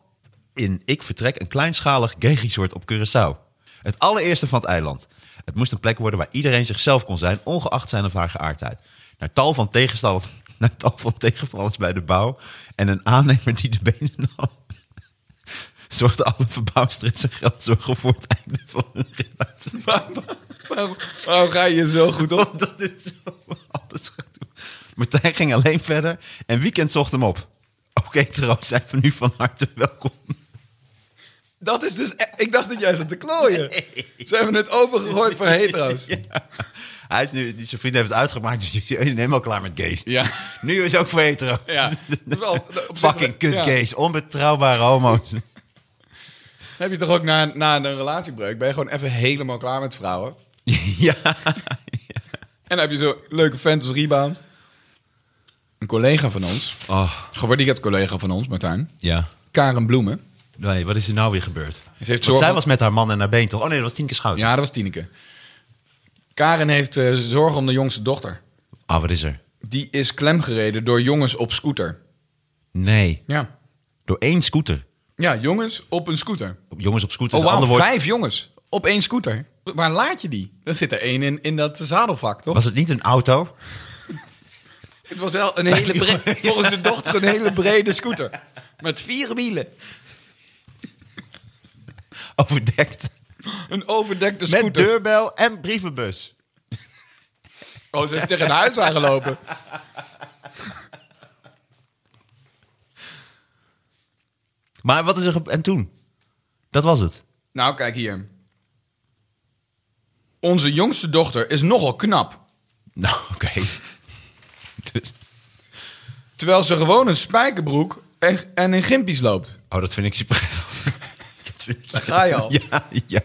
Speaker 2: in Ik Vertrek een kleinschalig gay resort op Curaçao. Het allereerste van het eiland. Het moest een plek worden waar iedereen zichzelf kon zijn, ongeacht zijn of haar geaardheid. Naar tal van tegenstallers, [laughs] naar tal van tegenvallers bij de bouw en een aannemer die de benen nam. [laughs] Zorgde alle verbouwstress en geldzorgen voor het einde van hun relatie.
Speaker 4: Waarom, waarom ga je zo goed op?
Speaker 2: [laughs] Omdat dit zo alles gaat doen. Martijn ging alleen verder en Weekend zocht hem op. Oké, trouwens, zijn we nu van harte welkom.
Speaker 4: Dat is dus... e- Ik dacht dat jij zat te klooien. Ze hebben het opengegooid voor hetero's.
Speaker 2: Hij is nu, die- zijn vriend heeft het uitgemaakt, dus die is helemaal klaar met gays.
Speaker 4: Ja.
Speaker 2: Nu is ook voor hetero. [laughs]
Speaker 4: Ja, dat is wel- op zich-
Speaker 2: Fucking kut
Speaker 4: ja.
Speaker 2: gays, onbetrouwbare homo's. [laughs]
Speaker 4: Heb je toch ook na, na een relatiebreuk... ben je gewoon even helemaal klaar met vrouwen.
Speaker 2: ja.
Speaker 4: En dan heb je zo'n leuke fantasy rebound. Een collega van ons...
Speaker 2: Oh,
Speaker 4: Gewaardeerd collega van ons, Martijn.
Speaker 2: ja.
Speaker 4: Karen Bloemen.
Speaker 2: Nee, wat is er nou weer gebeurd?
Speaker 4: heeft
Speaker 2: Want
Speaker 4: zorgen-
Speaker 2: zij was met haar man en haar been toch? Oh nee, dat was Tienke Schouten.
Speaker 4: Ja, dat was Tineke. Karen heeft eh, zorgen om de jongste dochter.
Speaker 2: Ah, wat is er?
Speaker 4: Die is klemgereden door jongens op scooter.
Speaker 2: Nee,
Speaker 4: Ja.
Speaker 2: door één scooter.
Speaker 4: Ja, jongens op een scooter.
Speaker 2: Jongens op scooters.
Speaker 4: Oh,
Speaker 2: een
Speaker 4: wauw,
Speaker 2: ander woord.
Speaker 4: vijf jongens op één scooter. Waar laat je die? Dan zit er één in, in dat zadelvak, toch?
Speaker 2: Was het niet een auto?
Speaker 4: Het was wel een hele brede, volgens de dochter een hele brede scooter. Met vier wielen.
Speaker 2: [laughs] Overdekt.
Speaker 4: Een overdekte scooter.
Speaker 2: Met deurbel en brievenbus.
Speaker 4: Oh, ze is tegen een huis aangelopen.
Speaker 2: Maar wat is er... ge- En toen? Dat was het.
Speaker 4: Nou, kijk hier. Onze jongste dochter is nogal knap.
Speaker 2: [laughs] Nou, oké. Dus,
Speaker 4: Terwijl ze gewoon een spijkerbroek en, en in gimpies loopt.
Speaker 2: oh, dat vind ik super. [laughs] Dat vind ik-
Speaker 4: Daar ga je al.
Speaker 2: [laughs] Ja, ja.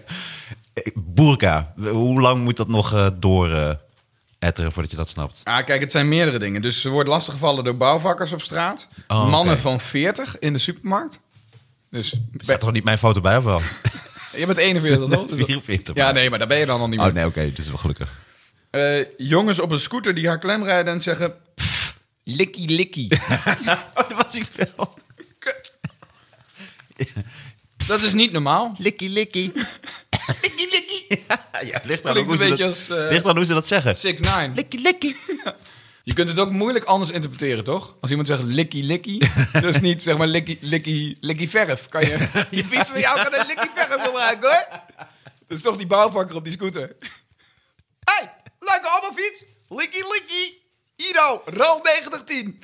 Speaker 2: Eh, Boerka, hoe lang moet dat nog eh door eh, etteren voordat je dat snapt?
Speaker 4: Ah, kijk, het zijn meerdere dingen. Dus ze wordt lastiggevallen door bouwvakkers op straat.
Speaker 2: Oh, oké.
Speaker 4: mannen van 40 in de supermarkt. Dus
Speaker 2: Er staat toch niet mijn foto bij of [laughs] wel?
Speaker 4: je bent 41,
Speaker 2: [laughs]
Speaker 4: toch? Dus dat-
Speaker 2: 44.
Speaker 4: Ja,
Speaker 2: maar.
Speaker 4: nee, maar daar ben je dan al niet meer.
Speaker 2: Oh nee, oké, dus wel gelukkig.
Speaker 4: Eh, jongens op een scooter die haar klem rijden en zeggen... "Pff, Likkie,
Speaker 2: [laughs]
Speaker 4: likkie.
Speaker 2: Oh, dat was ik wel.
Speaker 4: Dat is niet normaal.
Speaker 2: Likkie, [laughs] likkie.
Speaker 4: Likkie, likkie.
Speaker 2: [laughs] Ja, ligt
Speaker 4: Klinkt
Speaker 2: aan hoe,
Speaker 4: een
Speaker 2: ze
Speaker 4: beetje
Speaker 2: dat,
Speaker 4: als, eh,
Speaker 2: ligt aan hoe ze dat zeggen.
Speaker 4: 6ix9ine.
Speaker 2: Likkie, likkie.
Speaker 4: Je kunt het ook moeilijk anders interpreteren, toch? Als iemand zegt likkie
Speaker 2: [laughs]
Speaker 4: likkie, dat is niet zeg maar likkie likkie likkie verf. Kan je je fiets van jou kan een likkie verf gebruiken, hoor. Dat is toch die bouwvakker op die scooter. [laughs] hey, leuke appelfiets. Likkie likkie. Ido, rol 9010.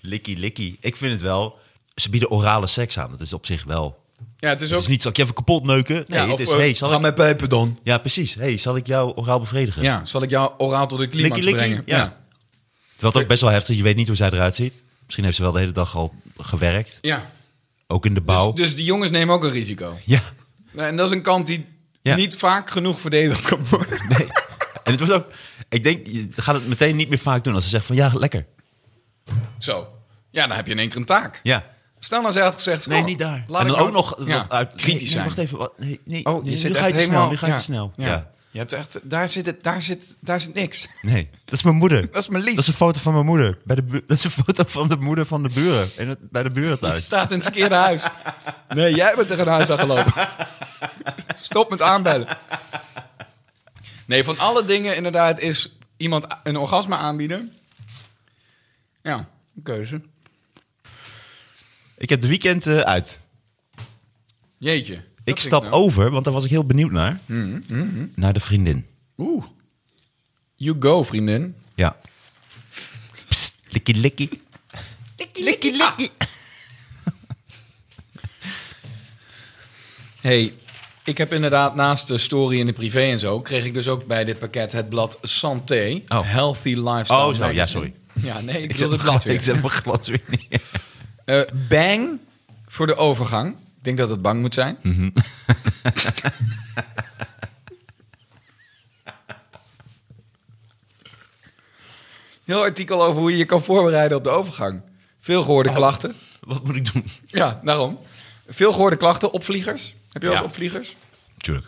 Speaker 2: Likkie, likkie. Ik vind het wel... Ze bieden orale seks aan. Dat is op zich wel...
Speaker 4: Ja, het is
Speaker 2: Het
Speaker 4: ook...
Speaker 2: is niet, zal ik je even kapot neuken? Nee,
Speaker 4: ja,
Speaker 2: het
Speaker 4: of,
Speaker 2: is...
Speaker 4: eh,
Speaker 2: hey, zal
Speaker 4: ga
Speaker 2: ik,
Speaker 4: met peper dan.
Speaker 2: ja, precies. hey, zal ik jou oraal bevredigen?
Speaker 4: Ja, zal ik jou oraal tot de climax
Speaker 2: Likkie, likkie,
Speaker 4: brengen?
Speaker 2: ja. Terwijl het ook best wel heftig. Je weet niet hoe zij eruit ziet. Misschien heeft ze wel de hele dag al gewerkt.
Speaker 4: ja.
Speaker 2: Ook in de bouw.
Speaker 4: Dus, dus die jongens nemen ook een risico.
Speaker 2: Ja.
Speaker 4: Nou, En dat is een kant die
Speaker 2: Ja.
Speaker 4: niet vaak genoeg verdedigd kan [laughs] worden.
Speaker 2: Nee. [laughs] En het was ook... Ik denk, je gaat het meteen niet meer vaak doen als ze zegt van ja, lekker.
Speaker 4: Zo. Ja, dan heb je in één keer een taak.
Speaker 2: Ja.
Speaker 4: Stel nou, zij had gezegd...
Speaker 2: Nee,
Speaker 4: oh,
Speaker 2: niet daar.
Speaker 4: laat
Speaker 2: en dan
Speaker 4: ik
Speaker 2: ook nog
Speaker 4: ja,
Speaker 2: wat uit... nee,
Speaker 4: kritisch
Speaker 2: nee,
Speaker 4: zijn.
Speaker 2: Wacht even. wat- Nee, nee,
Speaker 4: Oh, je
Speaker 2: nee,
Speaker 4: zit
Speaker 2: nu ga
Speaker 4: echt
Speaker 2: je te
Speaker 4: helemaal...
Speaker 2: snel. Nu ga je
Speaker 4: ja,
Speaker 2: te snel.
Speaker 4: ja.
Speaker 2: ja.
Speaker 4: Je hebt echt... Daar zit, het, daar, zit, daar zit niks. [laughs]
Speaker 2: Nee, dat is mijn moeder.
Speaker 4: Dat is mijn lies.
Speaker 2: Dat is een foto van mijn moeder. Bij de bu- [laughs] dat is een foto van de moeder van de buren. En het, bij de buren
Speaker 4: Het
Speaker 2: thuis.
Speaker 4: staat in het verkeerde huis. Nee, jij bent tegen een huis aangelopen. Stop met aanbellen. Nee, van alle dingen inderdaad is iemand een orgasme aanbieden. Ja, een keuze.
Speaker 2: Ik heb de weekend eh, uit.
Speaker 4: Jeetje. dat
Speaker 2: Ik
Speaker 4: vind
Speaker 2: stap
Speaker 4: nou- Mm,
Speaker 2: over, want daar was ik heel benieuwd naar. Naar de vriendin.
Speaker 4: Oeh. You go, vriendin.
Speaker 2: Ja. Psst, likkie likkie. Likkie likkie.
Speaker 4: hey, ik heb inderdaad naast de story in de privé en zo... kreeg ik dus ook bij dit pakket het blad Santé.
Speaker 2: Oh.
Speaker 4: Healthy Lifestyle
Speaker 2: Oh, zo, ja,
Speaker 4: Magazine.
Speaker 2: sorry.
Speaker 4: Ja, nee, ik,
Speaker 2: Ik
Speaker 4: wil
Speaker 2: zet,
Speaker 4: het
Speaker 2: mijn
Speaker 4: blad
Speaker 2: glas,
Speaker 4: weer.
Speaker 2: [laughs] ik zet mijn glas weer neer.
Speaker 4: [laughs] Eh, bang voor de overgang. Ik denk dat het bang moet zijn.
Speaker 2: Mhm.
Speaker 4: [laughs] Heel artikel over hoe je je kan voorbereiden op de overgang. Veel gehoorde
Speaker 2: Oh.
Speaker 4: klachten.
Speaker 2: Wat moet ik doen?
Speaker 4: Ja, daarom. Veel gehoorde klachten, opvliegers. Heb je wel eens
Speaker 2: Ja.
Speaker 4: opvliegers?
Speaker 2: Tuurlijk.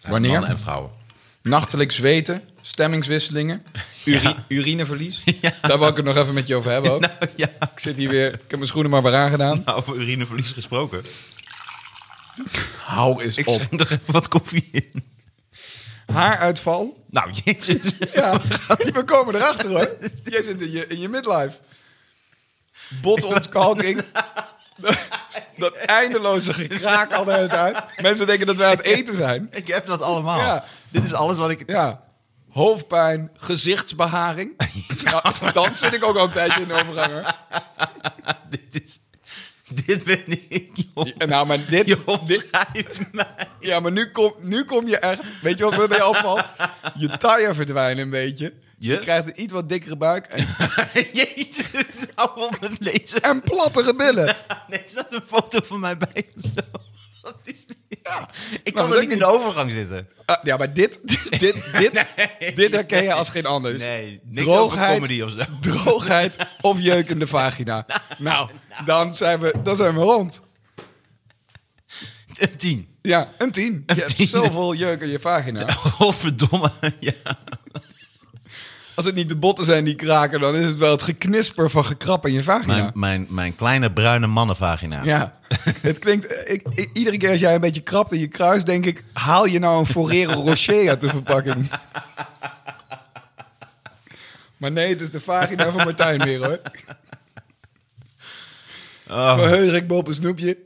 Speaker 4: Wanneer?
Speaker 2: Mannen en vrouwen. [laughs]
Speaker 4: Nachtelijk zweten, stemmingswisselingen, uri-
Speaker 2: [laughs]
Speaker 4: urineverlies. Daar wil ik het nog even met je over hebben ook.
Speaker 2: Nou, ja.
Speaker 4: Ik zit hier weer, ik heb mijn schoenen maar weer aangedaan.
Speaker 2: Nou, over urineverlies gesproken.
Speaker 4: Hou eens
Speaker 2: Ik
Speaker 4: op.
Speaker 2: schenk [laughs] er even wat koffie in.
Speaker 4: Haaruitval.
Speaker 2: Nou, jezus. [laughs]
Speaker 4: Ja, we komen erachter hoor. Jij zit in je, in je midlife. Botontkalking. Dat eindeloze gekraak al de hele tijd. Mensen denken dat wij aan het eten zijn.
Speaker 2: Ik heb dat allemaal.
Speaker 4: Ja.
Speaker 2: Dit is alles wat ik...
Speaker 4: Ja. Hoofdpijn, gezichtsbeharing. Ja, dan zit ik ook al een tijdje in de overgang. hoor.
Speaker 2: [laughs] Dit, is, dit ben ik, joh.
Speaker 4: En nou, maar dit,
Speaker 2: Je
Speaker 4: dit-
Speaker 2: omschrijft mij.
Speaker 4: ja, maar nu kom, nu kom je echt. Weet je wat me bij opvalt? Je taille verdwijnen een beetje. Je
Speaker 2: Je?
Speaker 4: krijgt een iets wat dikkere buik en,
Speaker 2: Jezus, hou op met lezen.
Speaker 4: en plattere billen.
Speaker 2: Nee, is dat een foto van mij bij? Wat is dit? ik
Speaker 4: maar
Speaker 2: kan
Speaker 4: dat
Speaker 2: er Nou, niet in de overgang zitten.
Speaker 4: Ah, ja, maar dit, [laughs] dit, dit, dit herken je als geen ander. Dus
Speaker 2: Nee, niks over comedy of zo.
Speaker 4: droogheid of jeukende vagina. [laughs] Nou, dan zijn we, dan zijn we rond.
Speaker 2: Een [laughs] tien.
Speaker 4: Ja, een tien. Je hebt
Speaker 2: tien.
Speaker 4: [laughs] zoveel jeuk in je vagina.
Speaker 2: Godverdomme. Ja.
Speaker 4: Als het niet de botten zijn die kraken, dan is het wel het geknisper van gekrap in je vagina.
Speaker 2: Mijn, mijn, mijn kleine bruine mannenvagina.
Speaker 4: Ja, [laughs] het klinkt. eh, Ik, i- iedere keer als jij een beetje krapt in je kruis, denk ik: haal je nou een Forero Rocher uit de verpakking? Maar nee, het is de vagina van Martijn weer hoor. Verheug ik me op een snoepje.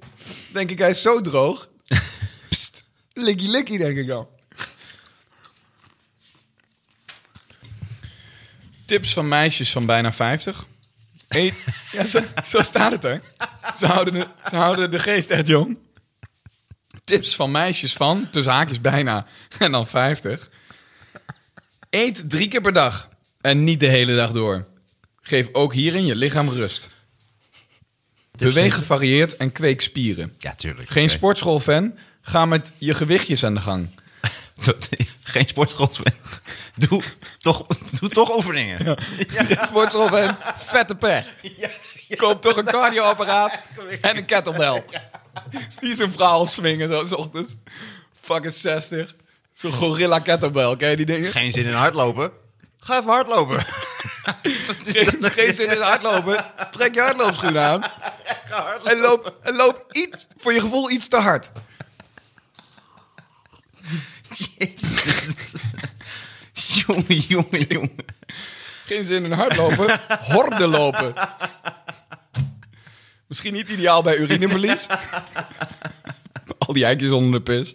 Speaker 4: Denk ik, hij is zo droog. Pst, likkie likkie, denk ik dan. Tips van meisjes van bijna 50. Eet, ja, zo, zo staat het er. Ze houden, de, ze houden de geest echt jong. Tips van meisjes van, tussen haakjes bijna, en dan 50. Eet drie keer per dag en niet de hele dag door. Geef ook hierin je lichaam rust. Beweeg gevarieerd en kweek spieren.
Speaker 2: Ja, tuurlijk.
Speaker 4: Geen
Speaker 2: Oké.
Speaker 4: sportschoolfan? Ga met je gewichtjes aan de gang.
Speaker 2: Dat- [laughs] Geen sportschool. Doe toch, doe toch oefeningen.
Speaker 4: Sportschoolfan, vette pech. Koop toch een cardioapparaat en een kettlebell. Die zo'n vrouw al swingen zo 's ochtends. Fucking 60. Zo'n gorilla kettlebell, ken je die dingen?
Speaker 2: Geen zin in hardlopen. Ga even [laughs] hardlopen.
Speaker 4: Geen, geen zin in hardlopen. Trek je hardloopschoenen aan. En loop, en loop iets, voor je gevoel iets te hard.
Speaker 2: [laughs] jongen, jongen, jongen.
Speaker 4: Geen zin in hardlopen, horde lopen. Misschien niet ideaal bij urineverlies. Al die eikjes onder de pis.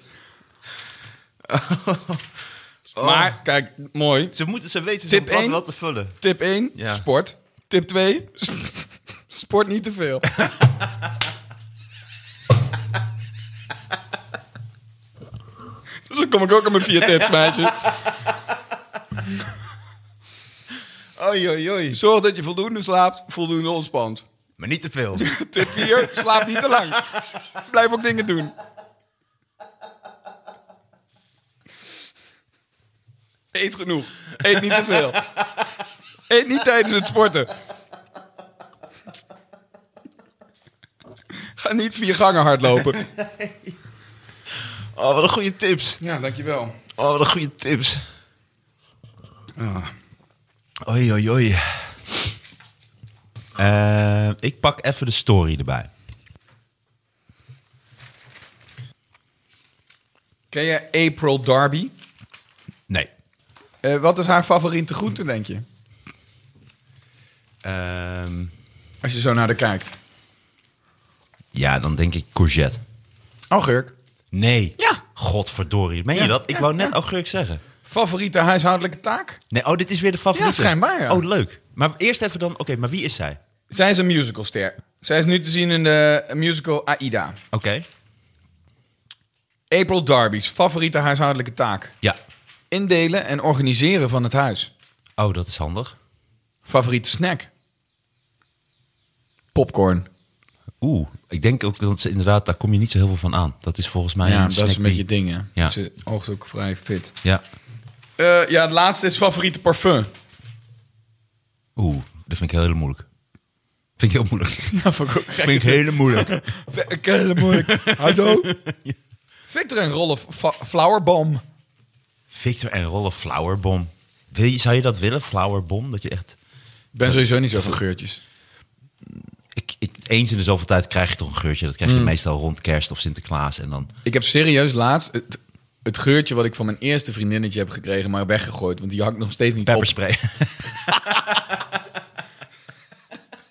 Speaker 4: Maar kijk, mooi.
Speaker 2: Ze, moeten, ze weten
Speaker 4: Tip
Speaker 2: zo'n blad
Speaker 4: één.
Speaker 2: wel te vullen.
Speaker 4: Tip 1,
Speaker 2: Ja.
Speaker 4: sport. Tip 2, sport niet te
Speaker 2: [laughs]
Speaker 4: veel. Dus dan kom ik ook aan mijn
Speaker 2: [laughs]
Speaker 4: vier tips, meisjes.
Speaker 2: Oei, oei, oei.
Speaker 4: Zorg dat je voldoende slaapt, voldoende ontspant.
Speaker 2: Maar niet te veel.
Speaker 4: [laughs] Tip 4, slaap niet te lang. Blijf ook dingen doen. Eet genoeg. Eet niet te veel. Eet niet tijdens het sporten. Ga niet vier gangen hardlopen.
Speaker 2: Oh, wat een goede tips.
Speaker 4: Ja, dankjewel.
Speaker 2: Oh, wat een goede tips. Oei, oei, oei. Eh, ik pak even de story erbij.
Speaker 4: Ken jij April Darby?
Speaker 2: Nee.
Speaker 4: Eh, wat is haar favoriete groente, denk je?
Speaker 2: Ehm,
Speaker 4: Als je zo naar haar kijkt.
Speaker 2: ja, dan denk ik courgette.
Speaker 4: Augurk.
Speaker 2: Nee.
Speaker 4: Ja.
Speaker 2: Godverdorie. Meen
Speaker 4: Ja,
Speaker 2: je dat? Ik
Speaker 4: ja,
Speaker 2: wou net augurk zeggen.
Speaker 4: Favoriete huishoudelijke taak?
Speaker 2: Nee, oh, dit is weer de favoriete.
Speaker 4: Ja, schijnbaar, ja.
Speaker 2: Oh, leuk. Maar eerst even dan... Oké, maar wie is zij?
Speaker 4: Zij is een musicalster. Zij is nu te zien in de musical Aida.
Speaker 2: Oké.
Speaker 4: April Darby's favoriete huishoudelijke taak.
Speaker 2: Ja.
Speaker 4: Indelen en organiseren van het huis.
Speaker 2: Oh, dat is handig.
Speaker 4: Favoriete snack. Popcorn.
Speaker 2: Oeh, ik denk ook dat ze inderdaad... Daar kom je niet zo heel veel van aan. Dat is volgens mij...
Speaker 4: Ah ja,
Speaker 2: een
Speaker 4: dat is een
Speaker 2: snack
Speaker 4: beetje
Speaker 2: die-
Speaker 4: ding, hè?
Speaker 2: Ja.
Speaker 4: Ze oogt ook vrij fit.
Speaker 2: Ja.
Speaker 4: Eh, ja, het laatste is favoriete parfum. [laughs]
Speaker 2: Oeh, dat vind ik heel, heel moeilijk. Vind ik heel moeilijk.
Speaker 4: Ja, vond ik ook gek.
Speaker 2: [laughs] vind ik heel moeilijk.
Speaker 4: Vind ik heel moeilijk.
Speaker 2: [laughs]
Speaker 4: Hallo? Victor en Rolf fa- Flowerbom.
Speaker 2: Victor en Rolf Flowerbom. Wil je- Zou je dat willen, Flowerbom? Dat je echt...
Speaker 4: Ik ben sowieso niet zo van geurtjes.
Speaker 2: Ik, ik, eens in de zoveel tijd krijg je toch een geurtje. Dat krijg je meestal rond kerst of Sinterklaas. En dan...
Speaker 4: Ik heb serieus laatst het, het geurtje wat ik van mijn eerste vriendinnetje heb gekregen, maar weggegooid. Want die hangt nog steeds niet
Speaker 2: [laughs]
Speaker 4: op.
Speaker 2: Pepperspray.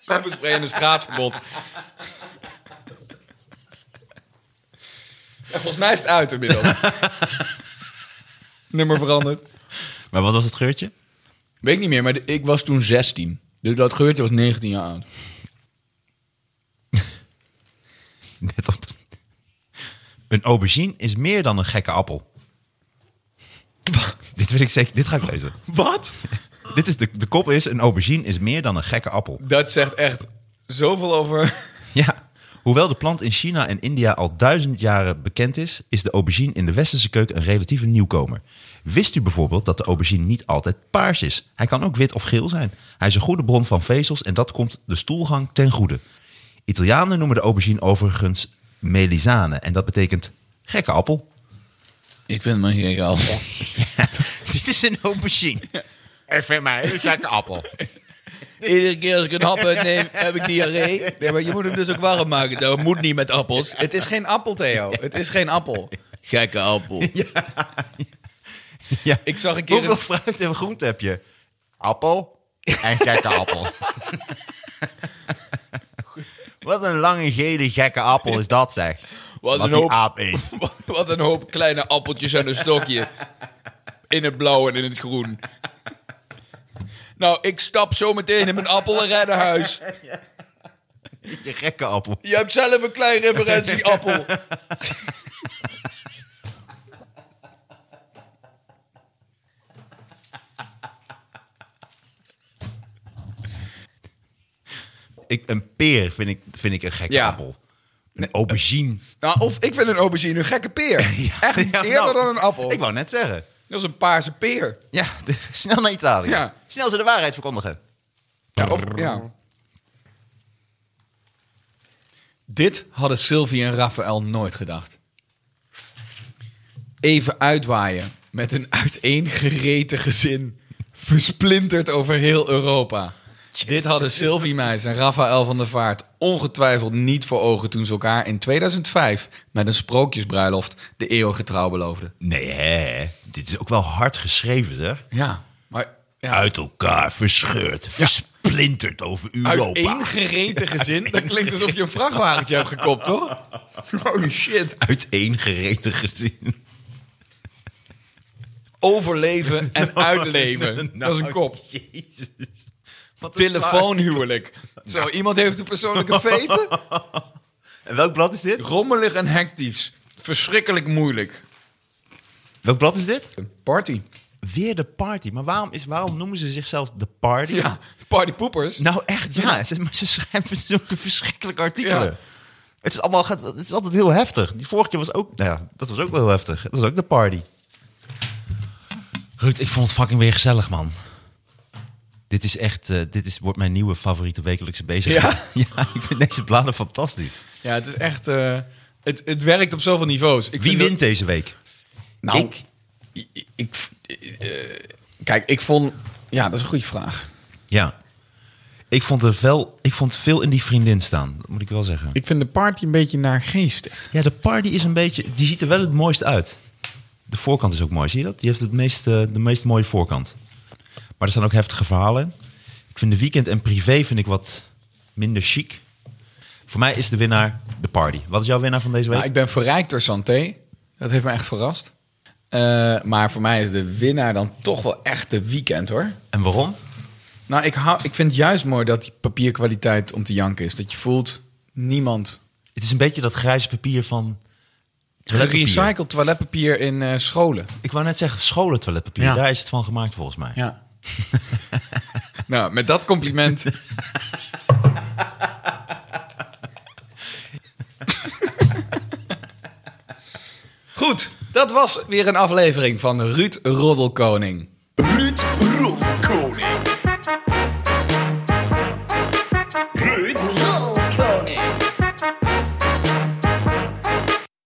Speaker 4: Pepperspray en een
Speaker 2: [laughs]
Speaker 4: straatverbod. Ja, volgens mij is het
Speaker 2: [laughs]
Speaker 4: uit inmiddels. Nummer veranderd.
Speaker 2: maar wat was het geurtje?
Speaker 4: Weet ik niet meer, maar de- ik was toen 16. Dus dat geurtje was 19 jaar oud.
Speaker 2: Net op. Een aubergine is meer dan een gekke appel. dit wil ik zeker. Dit ga ik lezen.
Speaker 4: Wat?
Speaker 2: Dit is de, de kop is: een aubergine is meer dan een gekke appel.
Speaker 4: Dat zegt echt zoveel over...
Speaker 2: Ja. Hoewel de plant in China en India al duizend jaren bekend is, is de aubergine in de westerse keuken een relatieve nieuwkomer. Wist u bijvoorbeeld dat de aubergine niet altijd paars is? Hij kan ook wit of geel zijn. Hij is een goede bron van vezels en dat komt de stoelgang ten goede. Italianen noemen de aubergine overigens melisane en dat betekent gekke appel. [laughs]
Speaker 4: Ik vind me hier al.
Speaker 2: Dit is een aubergine.
Speaker 3: Ik vind mij een gekke appel.
Speaker 5: Iedere keer als ik een hap uitneem, heb ik diarree. Nee, maar je moet hem dus ook warm maken. Dat moet niet met appels. Het is geen appel, Theo. Het is geen appel. Gekke appel.
Speaker 2: Ja.
Speaker 4: Ik zag een keer...
Speaker 2: Hoeveel fruit en groente heb je?
Speaker 3: Appel en gekke
Speaker 4: [laughs]
Speaker 3: appel. Wat een lange gele gekke appel is dat zeg.
Speaker 5: Wat
Speaker 3: Wat
Speaker 5: een
Speaker 3: die
Speaker 5: hoop-
Speaker 3: aap eet.
Speaker 5: Wat een hoop kleine appeltjes aan een stokje. In het blauw en in het groen. Nou, ik stap zo meteen in mijn appel en rijd naar huis.
Speaker 2: Je gekke appel.
Speaker 5: Je hebt zelf een klein
Speaker 4: [laughs]
Speaker 5: referentieappel.
Speaker 2: Ik, een peer vind ik, vind ik een gekke
Speaker 4: Ja.
Speaker 2: appel. Een aubergine.
Speaker 4: Nou, of ik vind een aubergine een gekke [laughs] peer. Echt
Speaker 2: Ja, nou,
Speaker 4: eh, eerder dan een appel.
Speaker 2: Ik wou net zeggen.
Speaker 4: Dat is een paarse peer.
Speaker 2: Ja, de- snel naar Italië.
Speaker 4: Ja.
Speaker 2: Snel ze de waarheid verkondigen.
Speaker 4: Ja, of- ja. Dit hadden Sylvie en Raphaël nooit gedacht. Even uitwaaien met een uiteengereten gezin. Versplinterd over heel Europa. Dit hadden Sylvie Meijs en Raphaël van der Vaart ongetwijfeld niet voor ogen toen ze elkaar in 2005 met een sprookjesbruiloft de eeuwige trouw beloofden.
Speaker 2: Nee, hè. Dit is ook wel hard geschreven, zeg.
Speaker 4: Ja, maar ja.
Speaker 2: Uit elkaar, verscheurd, versplinterd over Europa.
Speaker 4: Uiteengereten gezin? Dat klinkt alsof je een vrachtwagentje hebt gekopt, toch? Holy shit.
Speaker 2: Uiteengereten gezin.
Speaker 4: Overleven en
Speaker 2: [laughs]
Speaker 4: uitleven.
Speaker 2: nou,
Speaker 4: dat is een kop.
Speaker 2: Jezus. Wat een
Speaker 4: Telefoonhuwelijk. Zo, iemand heeft een persoonlijke vete.
Speaker 2: slaag. En welk blad is dit?
Speaker 4: Rommelig en hectisch. Verschrikkelijk moeilijk.
Speaker 2: Welk blad is dit?
Speaker 4: Party.
Speaker 2: Weer de party. Maar waarom, is, waarom noemen ze zichzelf de party?
Speaker 4: Ja, partypoepers.
Speaker 2: Nou echt, ja. Ze, maar ze schrijven zulke verschrikkelijke artikelen.
Speaker 4: Ja.
Speaker 2: Het, is allemaal, gaat- het is altijd heel heftig. Die vorige keer was ook... Nou ja, dat was ook wel heel heftig. Dat was ook de party. Ruud, ik vond het fucking weer gezellig, man. Dit is echt... eh, dit is, wordt mijn nieuwe favoriete wekelijkse bezigheid. [laughs] Ja? ik vind deze bladen fantastisch.
Speaker 4: Ja, het is echt... eh, het, het werkt op zoveel niveaus. Ik
Speaker 2: Wie
Speaker 4: vind dat-
Speaker 2: wint deze week?
Speaker 4: Nou,
Speaker 2: Ik?
Speaker 4: ik. ik eh, kijk, ik vond. Ja, dat is een goede vraag.
Speaker 2: Ja. Ik vond, er wel, ik vond veel in die vriendin staan. Dat moet ik wel zeggen.
Speaker 4: Ik vind de party een beetje naargeestig.
Speaker 2: Ja, de party is een beetje... Die ziet er wel het mooist uit. De voorkant is ook mooi, zie je dat? Die heeft het meest, eh, de meest mooie voorkant. Maar er staan ook heftige verhalen. in. Ik vind de weekend en privé vind ik wat minder chic. Voor mij is de winnaar de party. Wat is jouw winnaar van deze week?
Speaker 4: Nou, ik ben verrijkt door Santé. Dat heeft me echt verrast. Eh, maar voor mij is de winnaar dan toch wel echt de weekend hoor.
Speaker 2: En waarom?
Speaker 4: Nou, ik, hou, ik vind het juist mooi dat die papierkwaliteit om te janken is. Dat je voelt niemand.
Speaker 2: Het is een beetje dat grijze papier van... toiletpapier.
Speaker 4: Gerecycled toiletpapier in eh, scholen.
Speaker 2: Ik wou net zeggen scholen toiletpapier.
Speaker 4: Ja.
Speaker 2: Daar is het van gemaakt volgens mij.
Speaker 4: Ja. [laughs] nou, met dat compliment. Goed, dat was weer een aflevering van Ruud Roddelkoning.